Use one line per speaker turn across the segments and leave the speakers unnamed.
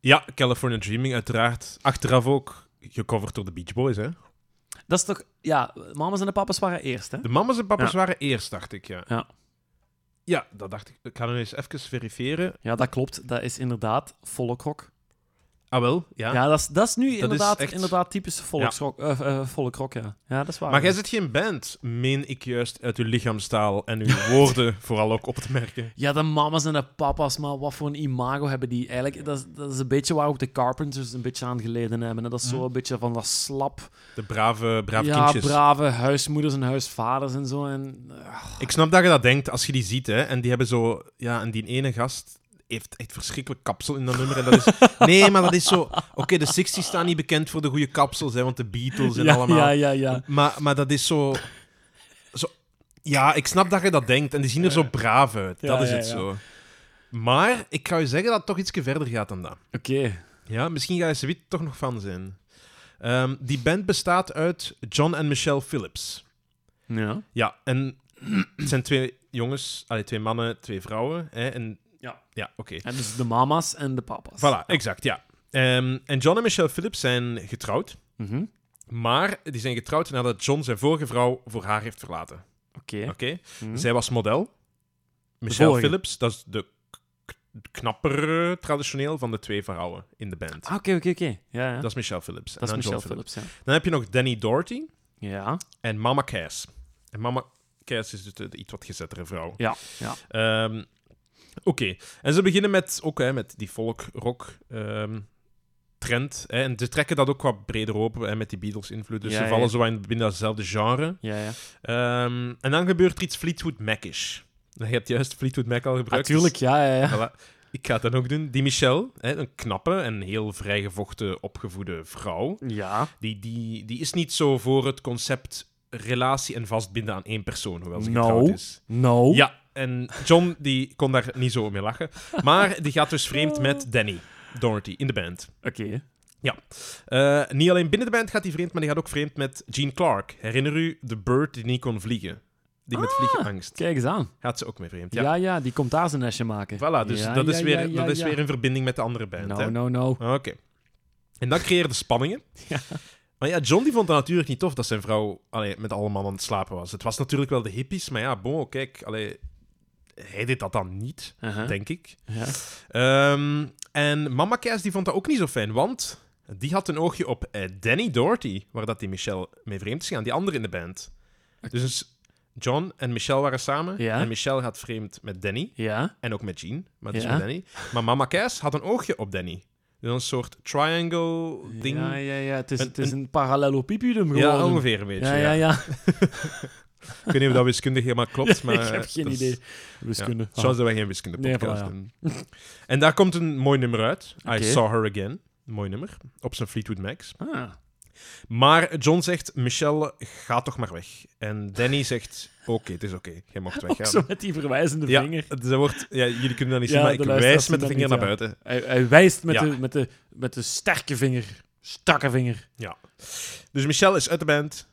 Ja, California Dreaming, uiteraard. Achteraf ook gecoverd door de Beach Boys, hè?
Dat is toch... Ja, mama's en de papa's waren eerst, hè?
De mamas en papa's
Ja.
waren eerst, dacht ik, ja.
Ja.
Ja, dat dacht ik. Ik ga nu eens even verifiëren.
Ja, dat klopt. Dat is inderdaad volkrok.
Ah, wel, ja.
Ja, dat, is, dat is nu
is
inderdaad,
echt-
inderdaad typische volksrock, eh eh, volkrok, ja. Ja, dat is waar.
Maar jij zit geen band, meen ik juist uit uw lichaamstaal en uw woorden vooral ook op te merken.
Ja, de mama's en de papa's, maar wat voor een imago hebben die eigenlijk? Dat is, dat is een beetje waar ook de Carpenters een beetje aan geleden hebben. hè. Dat is zo een beetje van dat slap.
De brave, brave
ja,
Hm. kindjes.
brave huismoeders en huisvaders en zo. En, eh,
Ik snap dat je dat denkt als je die ziet, hè. En die hebben zo... Ja, en die ene gast heeft echt verschrikkelijk kapsel in dat nummer. En dat is... Nee, maar dat is zo... Oké, de 60 staan niet bekend voor de goede kapsels, hè. Want de Beatles en
ja,
allemaal.
ja, ja, ja.
Maar, maar dat is zo... zo... Ja, ik snap dat je dat denkt. En die zien er zo braaf uit.
Ja,
dat is
ja,
het
ja.
zo. Maar ik ga je zeggen dat het toch iets verder gaat dan dat.
Oké.
Ja, misschien ga je ze toch nog van zijn. Ehm, die band bestaat uit John en Michelle Phillips.
Ja.
Ja, en het zijn twee jongens, allee, twee mannen, twee vrouwen. Hè, en,
Ja.
ja oké.
En dus de mama's en de papa's.
Voilà, exact, ja. Ehm, en John en Michelle Phillips zijn getrouwd.
Mhm.
Maar die zijn getrouwd nadat John zijn vorige vrouw voor haar heeft verlaten.
Oké.
Oké.
Mhm.
Zij was model. Michelle
vorige.
Phillips, dat is de k- k- knappere traditioneel van de twee vrouwen in de band.
Ah, Oké, oké, oké. Ja, ja.
Dat
Dat,
is Michelle Phillips. en
is
dan John
Michelle Phillips, ja.
Dan heb je nog Danny Doherty
Ja.
en Mama Cass. En Mama Cass is dus de, de iets wat gezettere vrouw.
Ja, ja.
Ehm, Oké. En ze beginnen met, ook, hè, met die folk-rock... ehm, trend. Hè, en ze trekken dat ook wat breder open hè, met die Beatles-invloed. Dus
Ja,
ze
ja.
vallen zo in, binnen datzelfde genre.
Ja, ja.
Ehm, en dan gebeurt er iets Fleetwood Mac-ish. Je hebt juist Fleetwood Mac al gebruikt. dus-
Natuurlijk, ja, ja, ja.
Voilà. Ik ga het dan ook doen. Die Michelle, hè, een knappe en heel vrijgevochten, opgevoede vrouw.
Ja.
Die, die, die is niet zo voor het concept relatie en vastbinden aan één persoon, hoewel ze
Nou. Oh.
getrouwd is.
No.
Ja, en John die kon daar niet zo mee lachen. Maar die gaat dus vreemd met Danny Doherty in de band.
Oké.
Eh, niet alleen binnen de band gaat hij vreemd, maar die gaat ook vreemd met Gene Clark. Herinner u de bird die niet kon vliegen? Die
Ah.
met vliegenangst.
Kijk eens aan.
Gaat ze ook mee vreemd, ja.
Ja, ja, die komt daar zijn nestje maken.
Voilà, dus
Ja,
dat, is
ja,
weer,
ja, ja,
dat is
ja. Nou,
weer in verbinding met de andere band. hè.
No, no, no.
Oké. En dat creëerde spanningen.
Ja.
Maar ja, John die vond dat natuurlijk niet tof dat zijn vrouw allee, met alle mannen aan het slapen was. Het was natuurlijk wel de hippies, maar ja, bon, kijk, allee, hij deed dat dan niet,
Uh-huh.
denk ik.
Ja.
Ehm, en mama Cass die vond dat ook niet zo fijn, want die had een oogje op eh, Danny Doherty, waar dat die Michelle mee vreemd is gaan, die andere in de band. Dus John en Michelle waren samen,
Ja.
en Michelle gaat vreemd met Danny.
Ja.
En ook met Jean, maar dus
Ja.
met Danny. Maar Mama Cass had een oogje op Danny. Dus een soort triangle-ding.
Ja, ja, ja. Het is
Een-
een, het is een parallelopipedum
Ja,
geworden.
ongeveer een beetje.
Ja,
Ja,
ja, ja.
Ik weet niet of dat wiskundig helemaal klopt, maar...
ik heb geen
dat is-
idee.
ja.
Wiskunde. Ah.
Zoals dat wij geen wiskunde
Nee,
podcast
voilà, ja.
doen. En daar komt een mooi nummer uit.
Oké.
I Saw Her Again. Mooi nummer. Op zijn Fleetwood Macs.
Ah.
Maar John zegt, Michelle, ga toch maar weg. En Danny zegt, oké, het is oké. Jij mag
Ook
weggaan.
zo met die verwijzende
ja,
vinger.
het- dat wordt, ja, jullie kunnen dat niet
Ja,
zien, maar
de
ik
luisteraars
wijs
zien
met de
dat
vinger
niet,
naar
ja.
buiten.
Hij, hij wijst met,
Ja.
de, met, de, met de sterke vinger. Strakke vinger.
Dus Michelle is uit de band.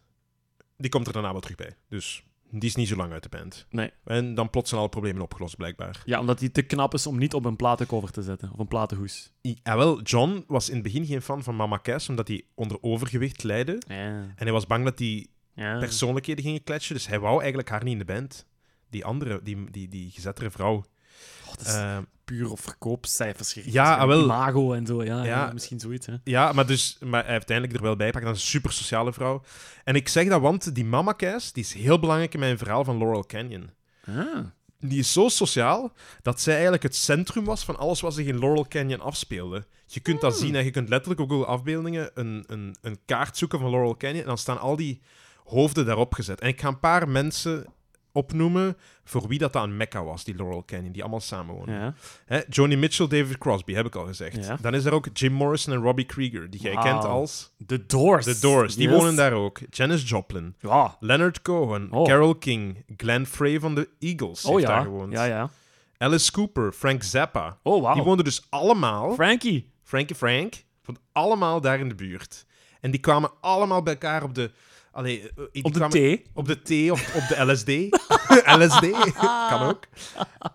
Die komt er daarna wel terug bij. Dus die is niet zo lang uit de band.
Nee.
En dan plots zijn alle problemen opgelost, blijkbaar.
Ja, omdat hij te knap is om niet op een platencover te zetten. Of een platenhoes.
Ja, eh, wel, John was in het begin geen fan van Mama Cass, omdat hij onder overgewicht leidde.
Ja.
En hij was bang dat die
ja.
persoonlijkheden gingen kletsen. Dus hij wou eigenlijk haar niet in de band. Die andere, die, die, die gezettere vrouw.
God, dat is
Eh,
puur op verkoopcijfers gericht.
ja,
Waarschijnlijk
wel.
Imago en zo. ah, Ja, ja.
Ja.
misschien zoiets. Hè.
ja, maar, dus, maar hij heeft uiteindelijk er wel bij pakken. Dat is een super sociale vrouw. En ik zeg dat, want die Mama Cass die is heel belangrijk in mijn verhaal van Laurel Canyon.
Ah.
die is zo sociaal dat zij eigenlijk het centrum was van alles wat zich in Laurel Canyon afspeelde. Je kunt
Hmm.
dat zien en je kunt letterlijk op Google afbeeldingen een, een, een kaart zoeken van Laurel Canyon en dan staan al die hoofden daarop gezet. En ik ga een paar mensen opnoemen voor wie dat aan Mecca was, die Laurel Canyon, die allemaal samenwonen.
Ja.
Hè, Johnny Mitchell, David Crosby, heb ik al gezegd.
Ja.
Dan is er ook Jim Morrison en Robbie Krieger, die jij
Wauw.
kent als
The Doors.
The Doors. Die
Yes.
wonen daar ook. Janis Joplin,
Ja.
Leonard Cohen,
Oh.
Carole King, Glenn Frey van de Eagles
Oh
heeft
ja.
daar gewoond.
Ja, ja.
Alice Cooper, Frank Zappa.
Oh, wauw.
Die woonden dus allemaal,
Frankie.
Frankie Frank, woonden allemaal daar in de buurt. En die kwamen allemaal bij elkaar op de... Allee, eh, die
Op de
kwamen-
thee.
Op de thee of op de LSD. LSD, kan ook.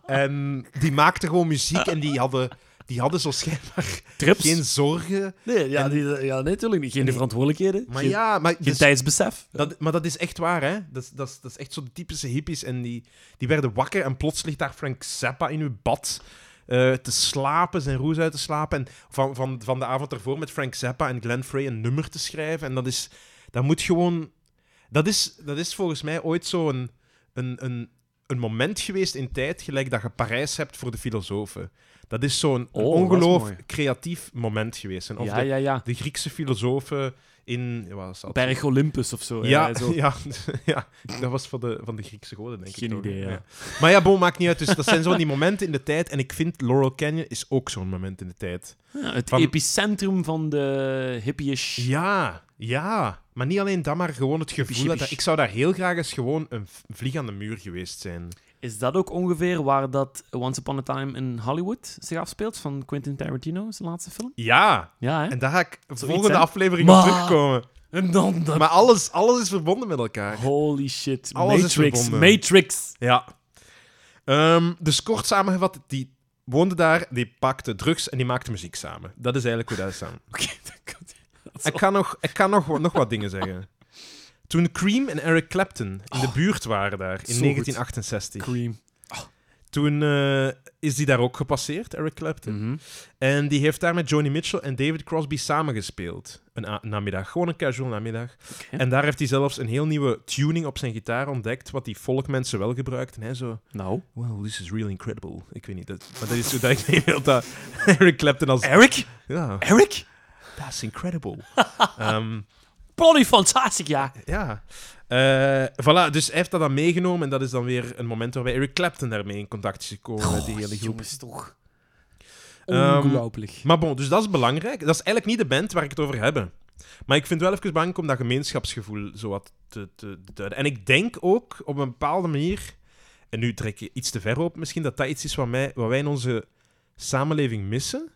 En die maakten gewoon muziek en die hadden... die hadden zo schijnbaar
Trips?
geen zorgen.
Nee, ja, die, ja, nee, natuurlijk niet. Geen verantwoordelijkheden.
Maar
geen,
ja, maar,
geen
dus-
tijdsbesef.
dat, maar dat is echt waar, hè. Dat, is- dat, is- dat is echt zo de typische hippies. En die, die werden wakker en plots ligt daar Frank Zappa in uw bad eh, te slapen, zijn roes uit te slapen. En van, van, van de avond ervoor met Frank Zappa en Glenn Frey een nummer te schrijven. En dat is... Dat moet gewoon... Dat is, dat is volgens mij ooit zo'n... Een, een, een moment geweest in tijd, gelijk dat je Parijs hebt voor de filosofen. Dat is zo'n
Oh, dat is
ongeloof
mooi.
creatief moment geweest. En of
Ja,
de-
ja, ja.
de Griekse filosofen in... ja, Wat is dat?
Berg Olympus of zo.
Ja,
zo.
ja, ja, dat was van de, van de Griekse goden, denk
Geen
ik. toch?
idee, ja.
Maar ja, bon, maakt niet uit. Dus dat zijn zo die momenten in de tijd. En ik vind Laurel Canyon is ook zo'n moment in de tijd.
Ja, het
Van-
epicentrum van de hippie-ish.
Ja, ja. Maar niet alleen dat, maar gewoon het gevoel. Dat, dat- ik zou daar heel graag eens gewoon een v- vlieg aan de muur geweest zijn.
Is dat ook ongeveer waar dat Once Upon a Time in Hollywood zich afspeelt? Van Quentin Tarantino, zijn laatste film?
Ja,
Ja, hè?
en daar ga ik volgende
hè?
aflevering
Maar-
op terugkomen.
En dan dat...
Maar alles, alles is verbonden met elkaar.
Holy shit.
Alles is
Matrix.
verbonden.
Matrix.
Ja. Ehm, dus kort samengevat, die woonde daar, die pakte drugs en die maakte muziek samen. Dat is eigenlijk hoe dat is samen.
Oké, dat kan-
Ik kan nog, ik kan nog, wat- nog wat dingen zeggen. Toen Cream en Eric Clapton in de buurt waren daar in
Oh, goed.
1968,
Cream.
toen eh, is die daar ook gepasseerd, Eric Clapton.
Mhm.
En die heeft daar met Joni Mitchell en David Crosby samengespeeld. Een a- namiddag, gewoon een casual namiddag.
Oké.
En daar heeft hij zelfs een heel nieuwe tuning op zijn gitaar ontdekt, wat die folkmensen wel gebruikten. Hè? Zo,
Nou.
well, this is really incredible. Ik weet niet, dat, maar dat is hoe dat ik neem heel dat Eric Clapton als...
Eric?
Ja,
Eric?
that's incredible. Ehm
Bloody fantastic, ja.
Ja. Eh, voilà, dus hij heeft dat dan meegenomen en dat is dan weer een moment waarbij Eric Clapton daarmee in contact is gekomen met die hele groep.
Oh, Jongens, toch.
Ehm,
Ongelooflijk.
Maar bon, dus dat is belangrijk. Dat is eigenlijk niet de band waar ik het over heb. Maar ik vind wel even belangrijk om dat gemeenschapsgevoel zo wat te, te, te duiden. En ik denk ook op een bepaalde manier, en nu trek je iets te ver op misschien, dat dat iets is wat, mij, wat wij in onze samenleving missen.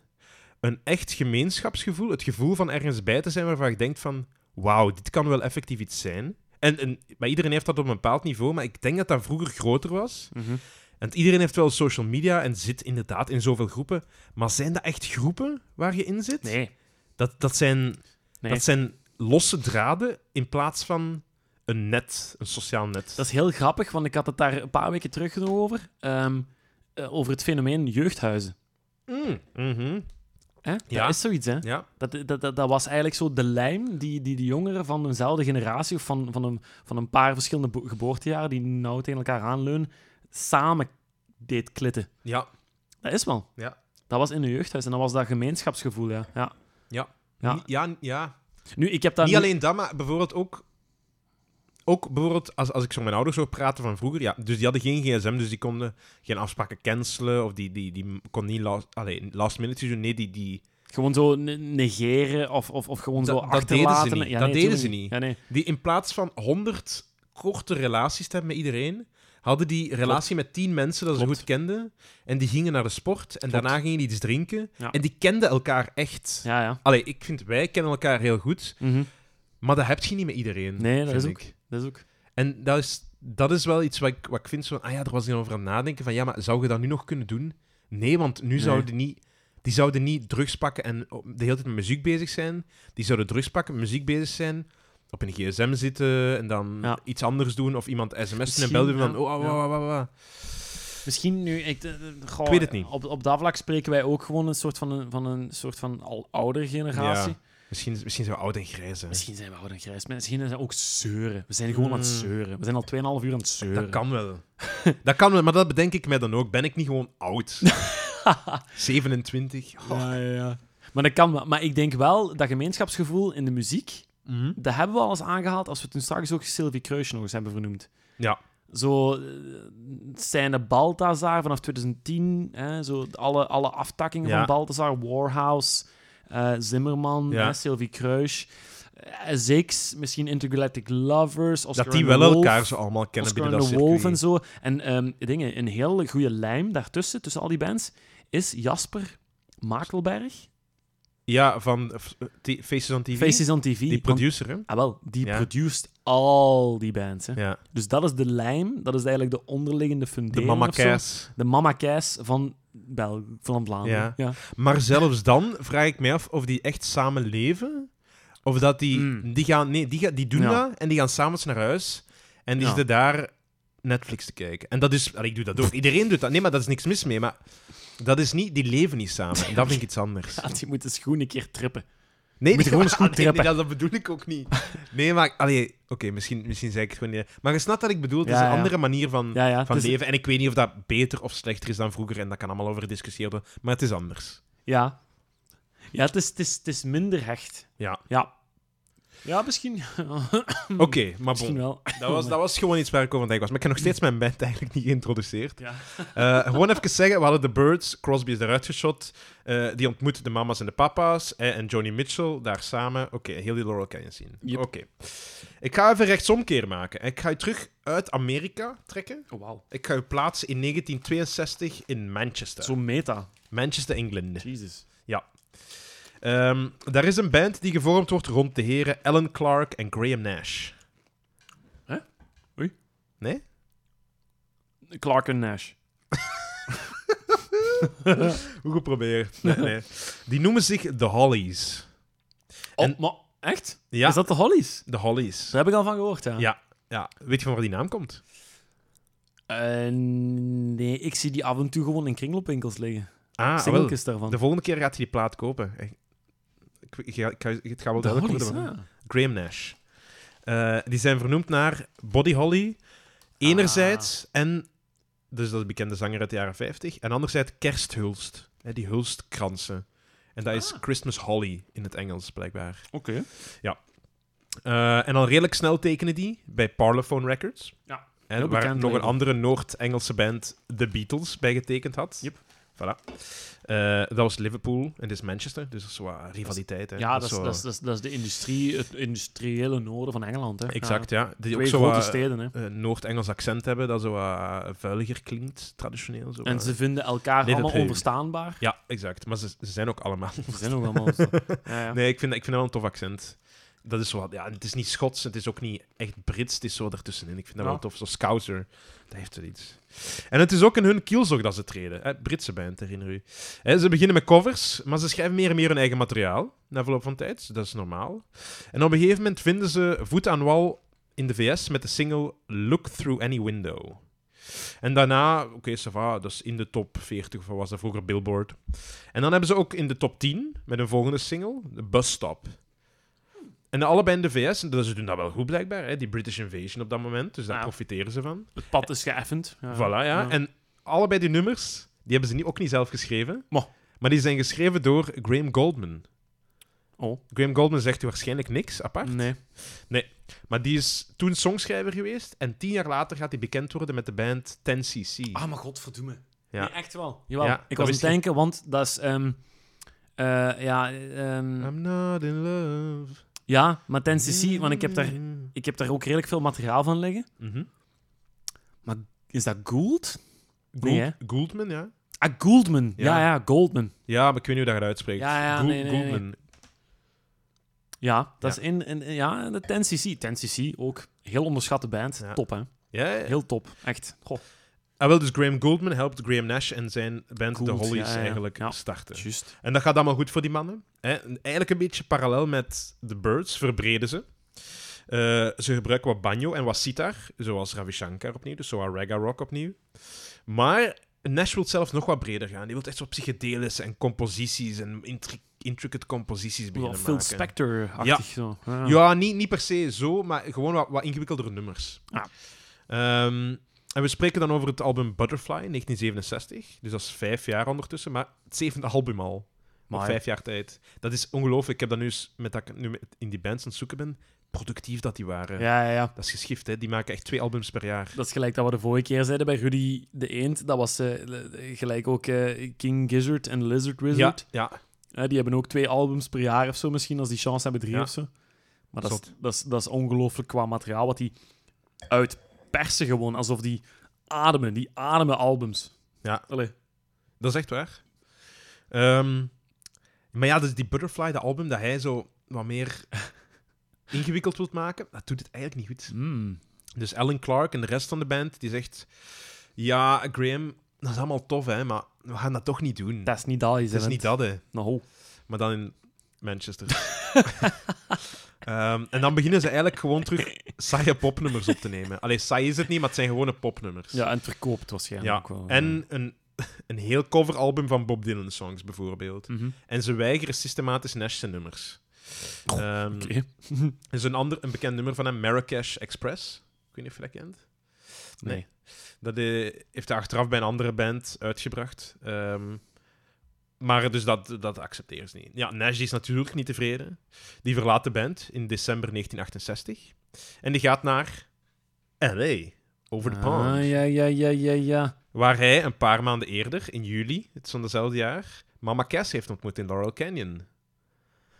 Een echt gemeenschapsgevoel. Het gevoel van ergens bij te zijn waarvan je denkt van, wauw, dit kan wel effectief iets zijn. En, en, maar iedereen heeft dat op een bepaald niveau, maar ik denk dat dat vroeger groter was.
Mhm.
En iedereen heeft wel social media en zit inderdaad in zoveel groepen. Maar zijn dat echt groepen waar je in zit?
Nee.
Dat, dat, zijn,
Nee.
dat zijn losse draden in plaats van een net, een sociaal net.
Dat is heel grappig, want ik had het daar een paar weken terug nog over. Ehm, eh, over het fenomeen jeugdhuizen.
Mm, mhm,
Hè?
Ja.
Dat is zoiets, hè?
Ja.
Dat, dat, dat, dat was eigenlijk zo de lijm die, die de jongeren van eenzelfde generatie of van, van, een, van een paar verschillende bo- geboortejaren die nou tegen elkaar aanleunen, samen deed klitten.
ja,
Dat is wel.
Ja.
Dat was in een jeugdhuis en dat was dat gemeenschapsgevoel, ja. ja. Ja.
Ni- ja, ja.
Nu, ik heb dat
Niet
nu-
alleen dat, maar bijvoorbeeld ook. Ook bijvoorbeeld, als, als ik zo met mijn ouders hoor praten van vroeger, ja, dus die hadden geen gsm, dus die konden geen afspraken cancelen, of die, die, die kon niet last, allee, last minute doen, nee, die, die,
gewoon zo ne- negeren of, of, of gewoon
Dat-
zo
dat deden ze
achterlaten.
niet.
Ja,
Dat
nee,
deden
tuurlijk
ze niet.
Ja, nee.
Die in plaats van 100 korte relaties te hebben met iedereen, hadden die relatie met 10 mensen dat
Klopt.
ze goed kenden. En die gingen naar de sport en
Klopt.
daarna gingen die iets drinken.
Ja.
En die kenden elkaar echt.
Ja, ja.
Allee, ik vind wij kennen elkaar heel goed,
Mhm.
maar dat heb je niet met iedereen.
Nee, dat
vind
is ook.
ik.
Dat is ook.
En dat is, dat is wel iets wat ik, wat ik vind zo van, ah ja, er was hier over aan het nadenken van, ja, maar zou je dat nu nog kunnen doen? Nee, want nu zouden niet, die zouden niet drugs pakken en op- de hele tijd met muziek bezig zijn. Die zouden drugs pakken, met muziek bezig zijn, op een gsm zitten en dan
Ja.
iets anders doen of iemand sms'en
Misschien,
en belden van,
ja.
oh, oh,
Ja.
oh, oh, oh, oh.
Misschien nu, ik, eh, eh, goh,
Ik weet het niet.
Op, op dat vlak spreken wij ook gewoon een soort van een, van een soort van al ouder generatie.
Ja. Misschien, misschien zijn we oud en grijs, hè.
Misschien zijn we ouder en grijs. maar Misschien zijn we ook zeuren. We zijn gewoon aan het
Mm.
zeuren. We zijn al 2,5 uur aan het zeuren.
Dat kan wel. dat kan wel, maar dat bedenk ik mij dan ook. Ben ik niet gewoon oud? 27? Oh.
Ja, ja, ja. Maar dat kan wel. Maar ik denk wel dat gemeenschapsgevoel in de muziek,
Mhm.
dat hebben we al eens aangehaald als we toen straks ook Sylvie Kreusje nog eens hebben vernoemd.
Ja.
Zo, eh, scène Balthazar vanaf 2010. Hè, zo alle, alle aftakkingen
Ja.
van Balthazar. Warhouse, eh, Zimmerman,
Ja.
hè, Sylvie Kruis. eh, Zix, misschien Intergalactic Lovers. Oscar
Dat die
and
wel
the Wolf,
elkaar zo allemaal kennen
Oscar
binnen
and
dat
the Wolf
circuit.
en zo. En ehm, dingen, een heel goede lijm daartussen, tussen al die bands, is Jasper Makelberg.
Ja, van eh, f- T- Faces on TV.
Faces on TV.
die
want-
producer, hè?
ah, wel, die
Ja.
produced al die bands. Hè.
Ja.
Dus dat is de lijm, dat is eigenlijk de onderliggende
De
fundering.
mama
of zo.
Kees.
de mama Kees van Bel van Vlaanderen.
Ja.
Ja.
Maar zelfs dan vraag ik mij af of die echt samen leven. Of dat die...
Mm.
Die, gaan, nee, die, gaan, die doen
Ja.
dat en die gaan samen naar huis. En die
Ja.
zitten daar Netflix te kijken. En dat is... allee, ik doe dat ook. Iedereen doet dat. Nee, maar dat is niks mis mee. Maar dat is niet... Die leven niet samen. En dat vind ik iets anders.
Ja, die moet de schoen een keer trippen.
Nee,
Moet je gewoon eens goed
allee, nee,
trappen.
dat, dat bedoel ik ook niet. Nee, maar... allee, Oké, misschien, misschien zei ik het gewoon niet. Maar je snapt dat ik bedoel. Het is
Ja,
een
ja.
andere manier van...
Ja, ja.
Van
het is-
leven. En ik weet niet of dat beter of slechter is dan vroeger. En dat kan allemaal over gediscussieerd worden. Maar het is anders.
Ja. Ja, het is, het, is, het is minder hecht.
Ja.
Ja. Ja, misschien.
Oké, maar bon.
Hmm. misschien wel. Hmm.
Dat was, dat was gewoon iets waar ik over aan het denken was. Maar ik heb nog steeds mijn band eigenlijk niet geïntroduceerd.
Ja.
Eh, gewoon even zeggen, we hadden de Birds, Crosby is eruit geschot. eh, die ontmoet de mama's en de papa's. eh, en Johnny Mitchell daar samen. Oké, heel die Laurel Canyon zien.
Yep.
Oké. Ik ga even rechtsomkeer maken. Ik ga u terug uit Amerika trekken.
Oh, wauw.
Ik ga u plaatsen in 1962 in Manchester.
Zo meta.
Manchester, England.
Jesus.
Ehm, daar is een band die gevormd wordt rond de heren Alan Clark en Graham Nash.
Hè? Oei.
Nee?
Clark en Nash.
Hoe geprobeerd. Nee, nee. Die noemen zich The Hollies.
Oh,
En-
maar echt?
Ja,
Is dat de Hollies?
The Hollies.
Daar heb ik al van gehoord, ja.
Ja. ja. Weet je van waar die naam komt?
Eh, nee, ik zie die af en toe gewoon in kringloopwinkels liggen.
Ah, wel.
Singeltjes daarvan.
De volgende keer gaat hij die plaat kopen. Ik, ik, ik, ga- ik ga- het gaat wel
de
duidelijk
Hollies, ah.
worden.
ja.
Graham Nash. Eh, die zijn vernoemd naar Body Holly, enerzijds,
Ah.
en dus dat is een bekende zanger uit de jaren 50, en anderzijds kersthulst. Hè, die hulstkransen. En dat is
Ah.
Christmas Holly in het Engels, blijkbaar.
Oké.
Eh, en al redelijk snel tekenen die bij Parlophone Records.
Ja,
En
heel
waar
bekend
nog een
label.
andere Noord-Engelse band, The Beatles, bij getekend had.
Yep.
Voilà. Eh, dat was Liverpool en dit is Manchester, dus dat is wat rivaliteit. Hè.
Ja, dat is,
zo-
dat, is, dat, is, dat is de industrie, het industriële noorden van Engeland. Hè.
Exact,
Ja.
ja. Die ook
Twee
zo
grote
wat,
steden, hè.
eh, Noord-Engels accent hebben, dat zo wat vuiliger klinkt, traditioneel. Zo
En
wat.
ze vinden elkaar
eh, Nee, dat
allemaal
weet ik.
onverstaanbaar.
Ja, exact. Maar ze, ze zijn ook allemaal...
Ze zijn ook allemaal zo. Ja, ja.
Nee, ik vind, ik vind dat wel een tof accent. Dat is zo wat... Ja, het is niet Schots, het is ook niet echt Brits, het is zo ertussenin. Ik vind dat
Ja.
wel tof. Zo Scouser, dat heeft er iets. En het is ook in hun kielzog dat ze treden. Hè? Britse band, herinner u. Hè, ze beginnen met covers, maar ze schrijven meer en meer hun eigen materiaal. Na verloop van tijd, dus dat is normaal. En op een gegeven moment vinden ze voet aan wal in de VS met de single Look Through Any Window. En daarna, oké, ça va, dat is in de top 40, of wat was dat vroeger, Billboard. En dan hebben ze ook in de top 10, met een volgende single, de Bus Stop. En allebei in de VS, en dat- ze doen dat wel goed blijkbaar, hè? die British Invasion op dat moment, dus daar
Ja.
profiteren ze van.
Het pad is geëffend. Ja.
Voilà, ja. En allebei die nummers, die hebben ze niet, ook niet zelf geschreven.
Mo.
Maar die zijn geschreven door Graham Goldman.
Oh,
Graham Goldman zegt u waarschijnlijk niks apart.
nee.
Maar die is toen songschrijver geweest. En tien jaar later gaat hij bekend worden met de band 10cc.
Ah, maar godverdomme.
Ja.
Nee, echt wel. Jawel,
Ja, dat
ik was aan
wist
het
je.
denken, want dat is... ehm, eh, ja, ehm,
I'm not in love.
ja, maar 10cc, want ik heb, daar, ik heb daar ook redelijk veel materiaal van liggen.
Mhm.
Is dat Gould?
Gould-
Nee, hè?
Gouldman, ja.
Ah, Gouldman.
Ja.
Ja, ja, Goldman.
Ja, maar ik weet niet hoe dat gaat uitspreekt.
Ja, ja, nee, nee, nee.
Gouldman.
Ja, dat
Ja.
is in, in, in- ja, de 10cc. 10cc ook. Heel onderschatte band.
Ja.
Top, hè?
Ja, ja.
Heel top. Echt. Goh,
Ah, wel, dus Graham Goldman helpt Graham Nash en zijn band
Gould,
The Hollies
ja, ja, ja.
eigenlijk
Ja.
starten.
juist.
En dat gaat allemaal goed voor die mannen. Hè? En Eigenlijk een beetje parallel met The Birds, verbreden ze. Eh, ze gebruiken wat banjo en wat sitar, zoals Ravi Shankar opnieuw, dus zoals reggae rock opnieuw. Maar Nash wil zelf nog wat breder gaan. Die wil echt zo psychedelische en composities en intri- intricate composities
Wel
beginnen
Phil
maken.
Spector-achtig. Zo. Ja.
Ja, niet, niet per se zo, maar gewoon wat, wat ingewikkeldere nummers.
Ah.
Ehm, en we spreken dan over het album Butterfly, 1967. Dus dat is vijf jaar ondertussen, maar het zevende album al. Maar
Amai.
vijf jaar tijd. Dat is ongelooflijk. Ik heb dat nu eens, met dat ik nu met- in die bands aan het zoeken ben, productief dat die waren.
ja, ja, ja.
Dat is geschift, hè. Die maken echt twee albums per jaar.
Dat is gelijk dat we de vorige keer zeiden bij Rudy de Eend. Dat was eh, eh, gelijk ook eh, King Gizzard en Lizard
Ja,
Wizard.
ja,
Eh, die hebben ook twee albums per jaar of zo misschien, als die chance hebben drie
Ja.
of zo. Maar dat is,
Zot.
dat, is, dat is ongelooflijk qua materiaal wat die uitpersen gewoon. Alsof die ademen, die ademen albums.
Ja.
Allee.
dat is echt waar. Ehm, maar ja, dus die Butterfly, dat album dat hij zo wat meer ingewikkeld wilt maken, dat doet het eigenlijk Hmm. niet goed. Dus Alan Clark en de rest van de band, die zegt... Ja, Graham, dat is allemaal tof, hè, maar we gaan dat toch niet doen.
Dat is niet dat, is
het is niet dat, hè.
Nou,
Maar dan in Manchester. Ehm, en dan beginnen ze eigenlijk gewoon terug saaie popnummers op te nemen. Allee, saai is het niet, maar het zijn gewone popnummers.
ja, en het verkoopt waarschijnlijk
Ja,
ook wel.
en een, een heel coveralbum van Bob Dylan songs, bijvoorbeeld.
Mhm.
En ze weigeren systematisch Nash zijn nummers. Ehm,
Oké.
Er is een, ander, een bekend nummer van hem, Marrakesh Express. Ik weet niet of je dat kent.
Nee.
Dat eh, heeft hij achteraf bij een andere band uitgebracht. Ehm, maar dus dat, dat accepteren ze niet. Ja, Nash die is natuurlijk niet tevreden. Die verlaat de band in december 1968. En die gaat naar L.A., over de pond.
Ah, ja, ja, ja, ja, ja.
Waar hij een paar maanden eerder, in juli, het is van dezelfde jaar, Mama Cass heeft ontmoet in Laurel Canyon.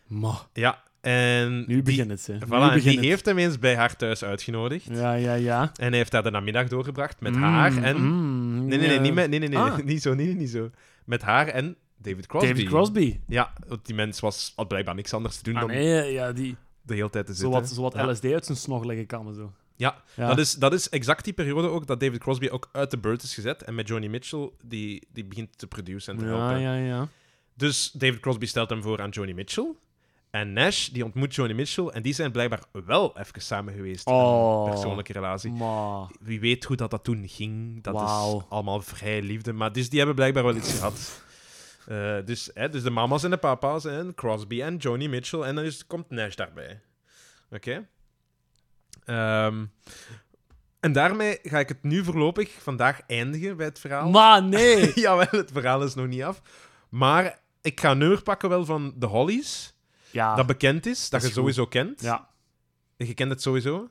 Maar,
Ja, en...
nu begint het, hè.
Die,
Nu
voilà, en
begint
die
het.
heeft hem eens bij haar thuis uitgenodigd.
Ja, ja, ja.
En hij heeft daar de namiddag doorgebracht met haar en...
Mm,
Nee, nee, nee,
ja.
niet, met, nee, nee, nee,
Ah.
niet zo, nee, nee, niet zo. Met haar en David Crosby.
David Crosby.
Ja, want die mens was, had blijkbaar niks anders te doen
Ah,
dan
nee, ja, die...
de hele tijd te zitten.
Zowat, zowat
Ja.
LSD uit zijn snor leggen kan en zo.
Ja,
Ja.
Dat, is, dat is exact die periode ook dat David Crosby ook uit de beurt is gezet. En met Johnny Mitchell, die, die begint te produceren en te
Ja,
helpen.
ja, ja.
Dus David Crosby stelt hem voor aan Johnny Mitchell. En Nash, die ontmoet Johnny Mitchell. En die zijn blijkbaar wel even samen geweest. in
Oh.
Een persoonlijke relatie.
Maar...
Wie weet hoe dat, dat toen ging. Dat
Wauw.
is allemaal vrij liefde. Maar dus die hebben blijkbaar wel iets gehad. Eh, dus, hè, dus de mama's en de papa's en Crosby en Johnny Mitchell. En dan is, komt Nash daarbij. Oké? Ehm, en daarmee ga ik het nu voorlopig vandaag eindigen bij het verhaal.
Maar nee!
Jawel, het verhaal is nog niet af. Maar ik ga een nummer pakken wel van de Hollies.
Ja.
dat bekend is, dat,
Ah. dat
je
is goed.
sowieso kent.
ja.
Je kent het sowieso.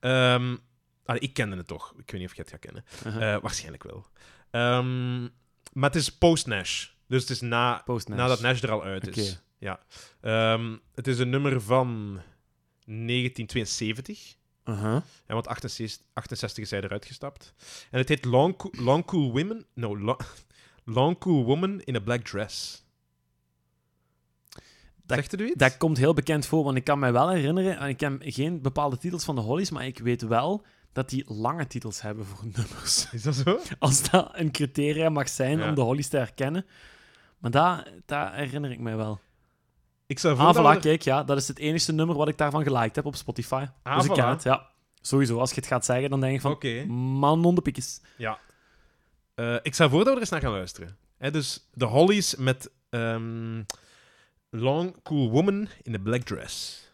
Ehm, allee, ik kende het toch. Ik weet niet of je het gaat kennen.
Uh-huh.
Eh, waarschijnlijk wel. Ehm, maar het is post-Nash. Dus het is na,
Post
nadat Nash er al uit is.
Oké.
Ja. Ehm, het is een nummer van 1972.
Uh-huh.
En want 68, 68 is hij eruit gestapt. En het heet Long, Coo- Long Cool Women... No, Lo- Long Cool Woman in a Black Dress.
Dat-
Zegt het u iets?
Dat komt heel bekend voor, want ik kan mij wel herinneren, en ik ken geen bepaalde titels van de Hollies, maar ik weet wel dat die lange titels hebben voor nummers.
Is dat zo?
Als dat een criteria mag zijn
Ja.
om de Hollies te herkennen. Maar dat, dat herinner ik mij wel.
Ik zou voor
Ah,
dat we
voilà,
er-
kijk, ja, dat is het enige nummer wat ik daarvan geliked heb op Spotify.
Ah,
dus ik
voilà.
ken het, ja. Sowieso, als je het gaat zeggen, dan denk je van,
Oké.
man onder piekjes.
Ja. Eh, ik zou voor dat we er eens naar gaan luisteren. Hè, dus de Hollies met ehm, Long Cool Woman in a Black Dress.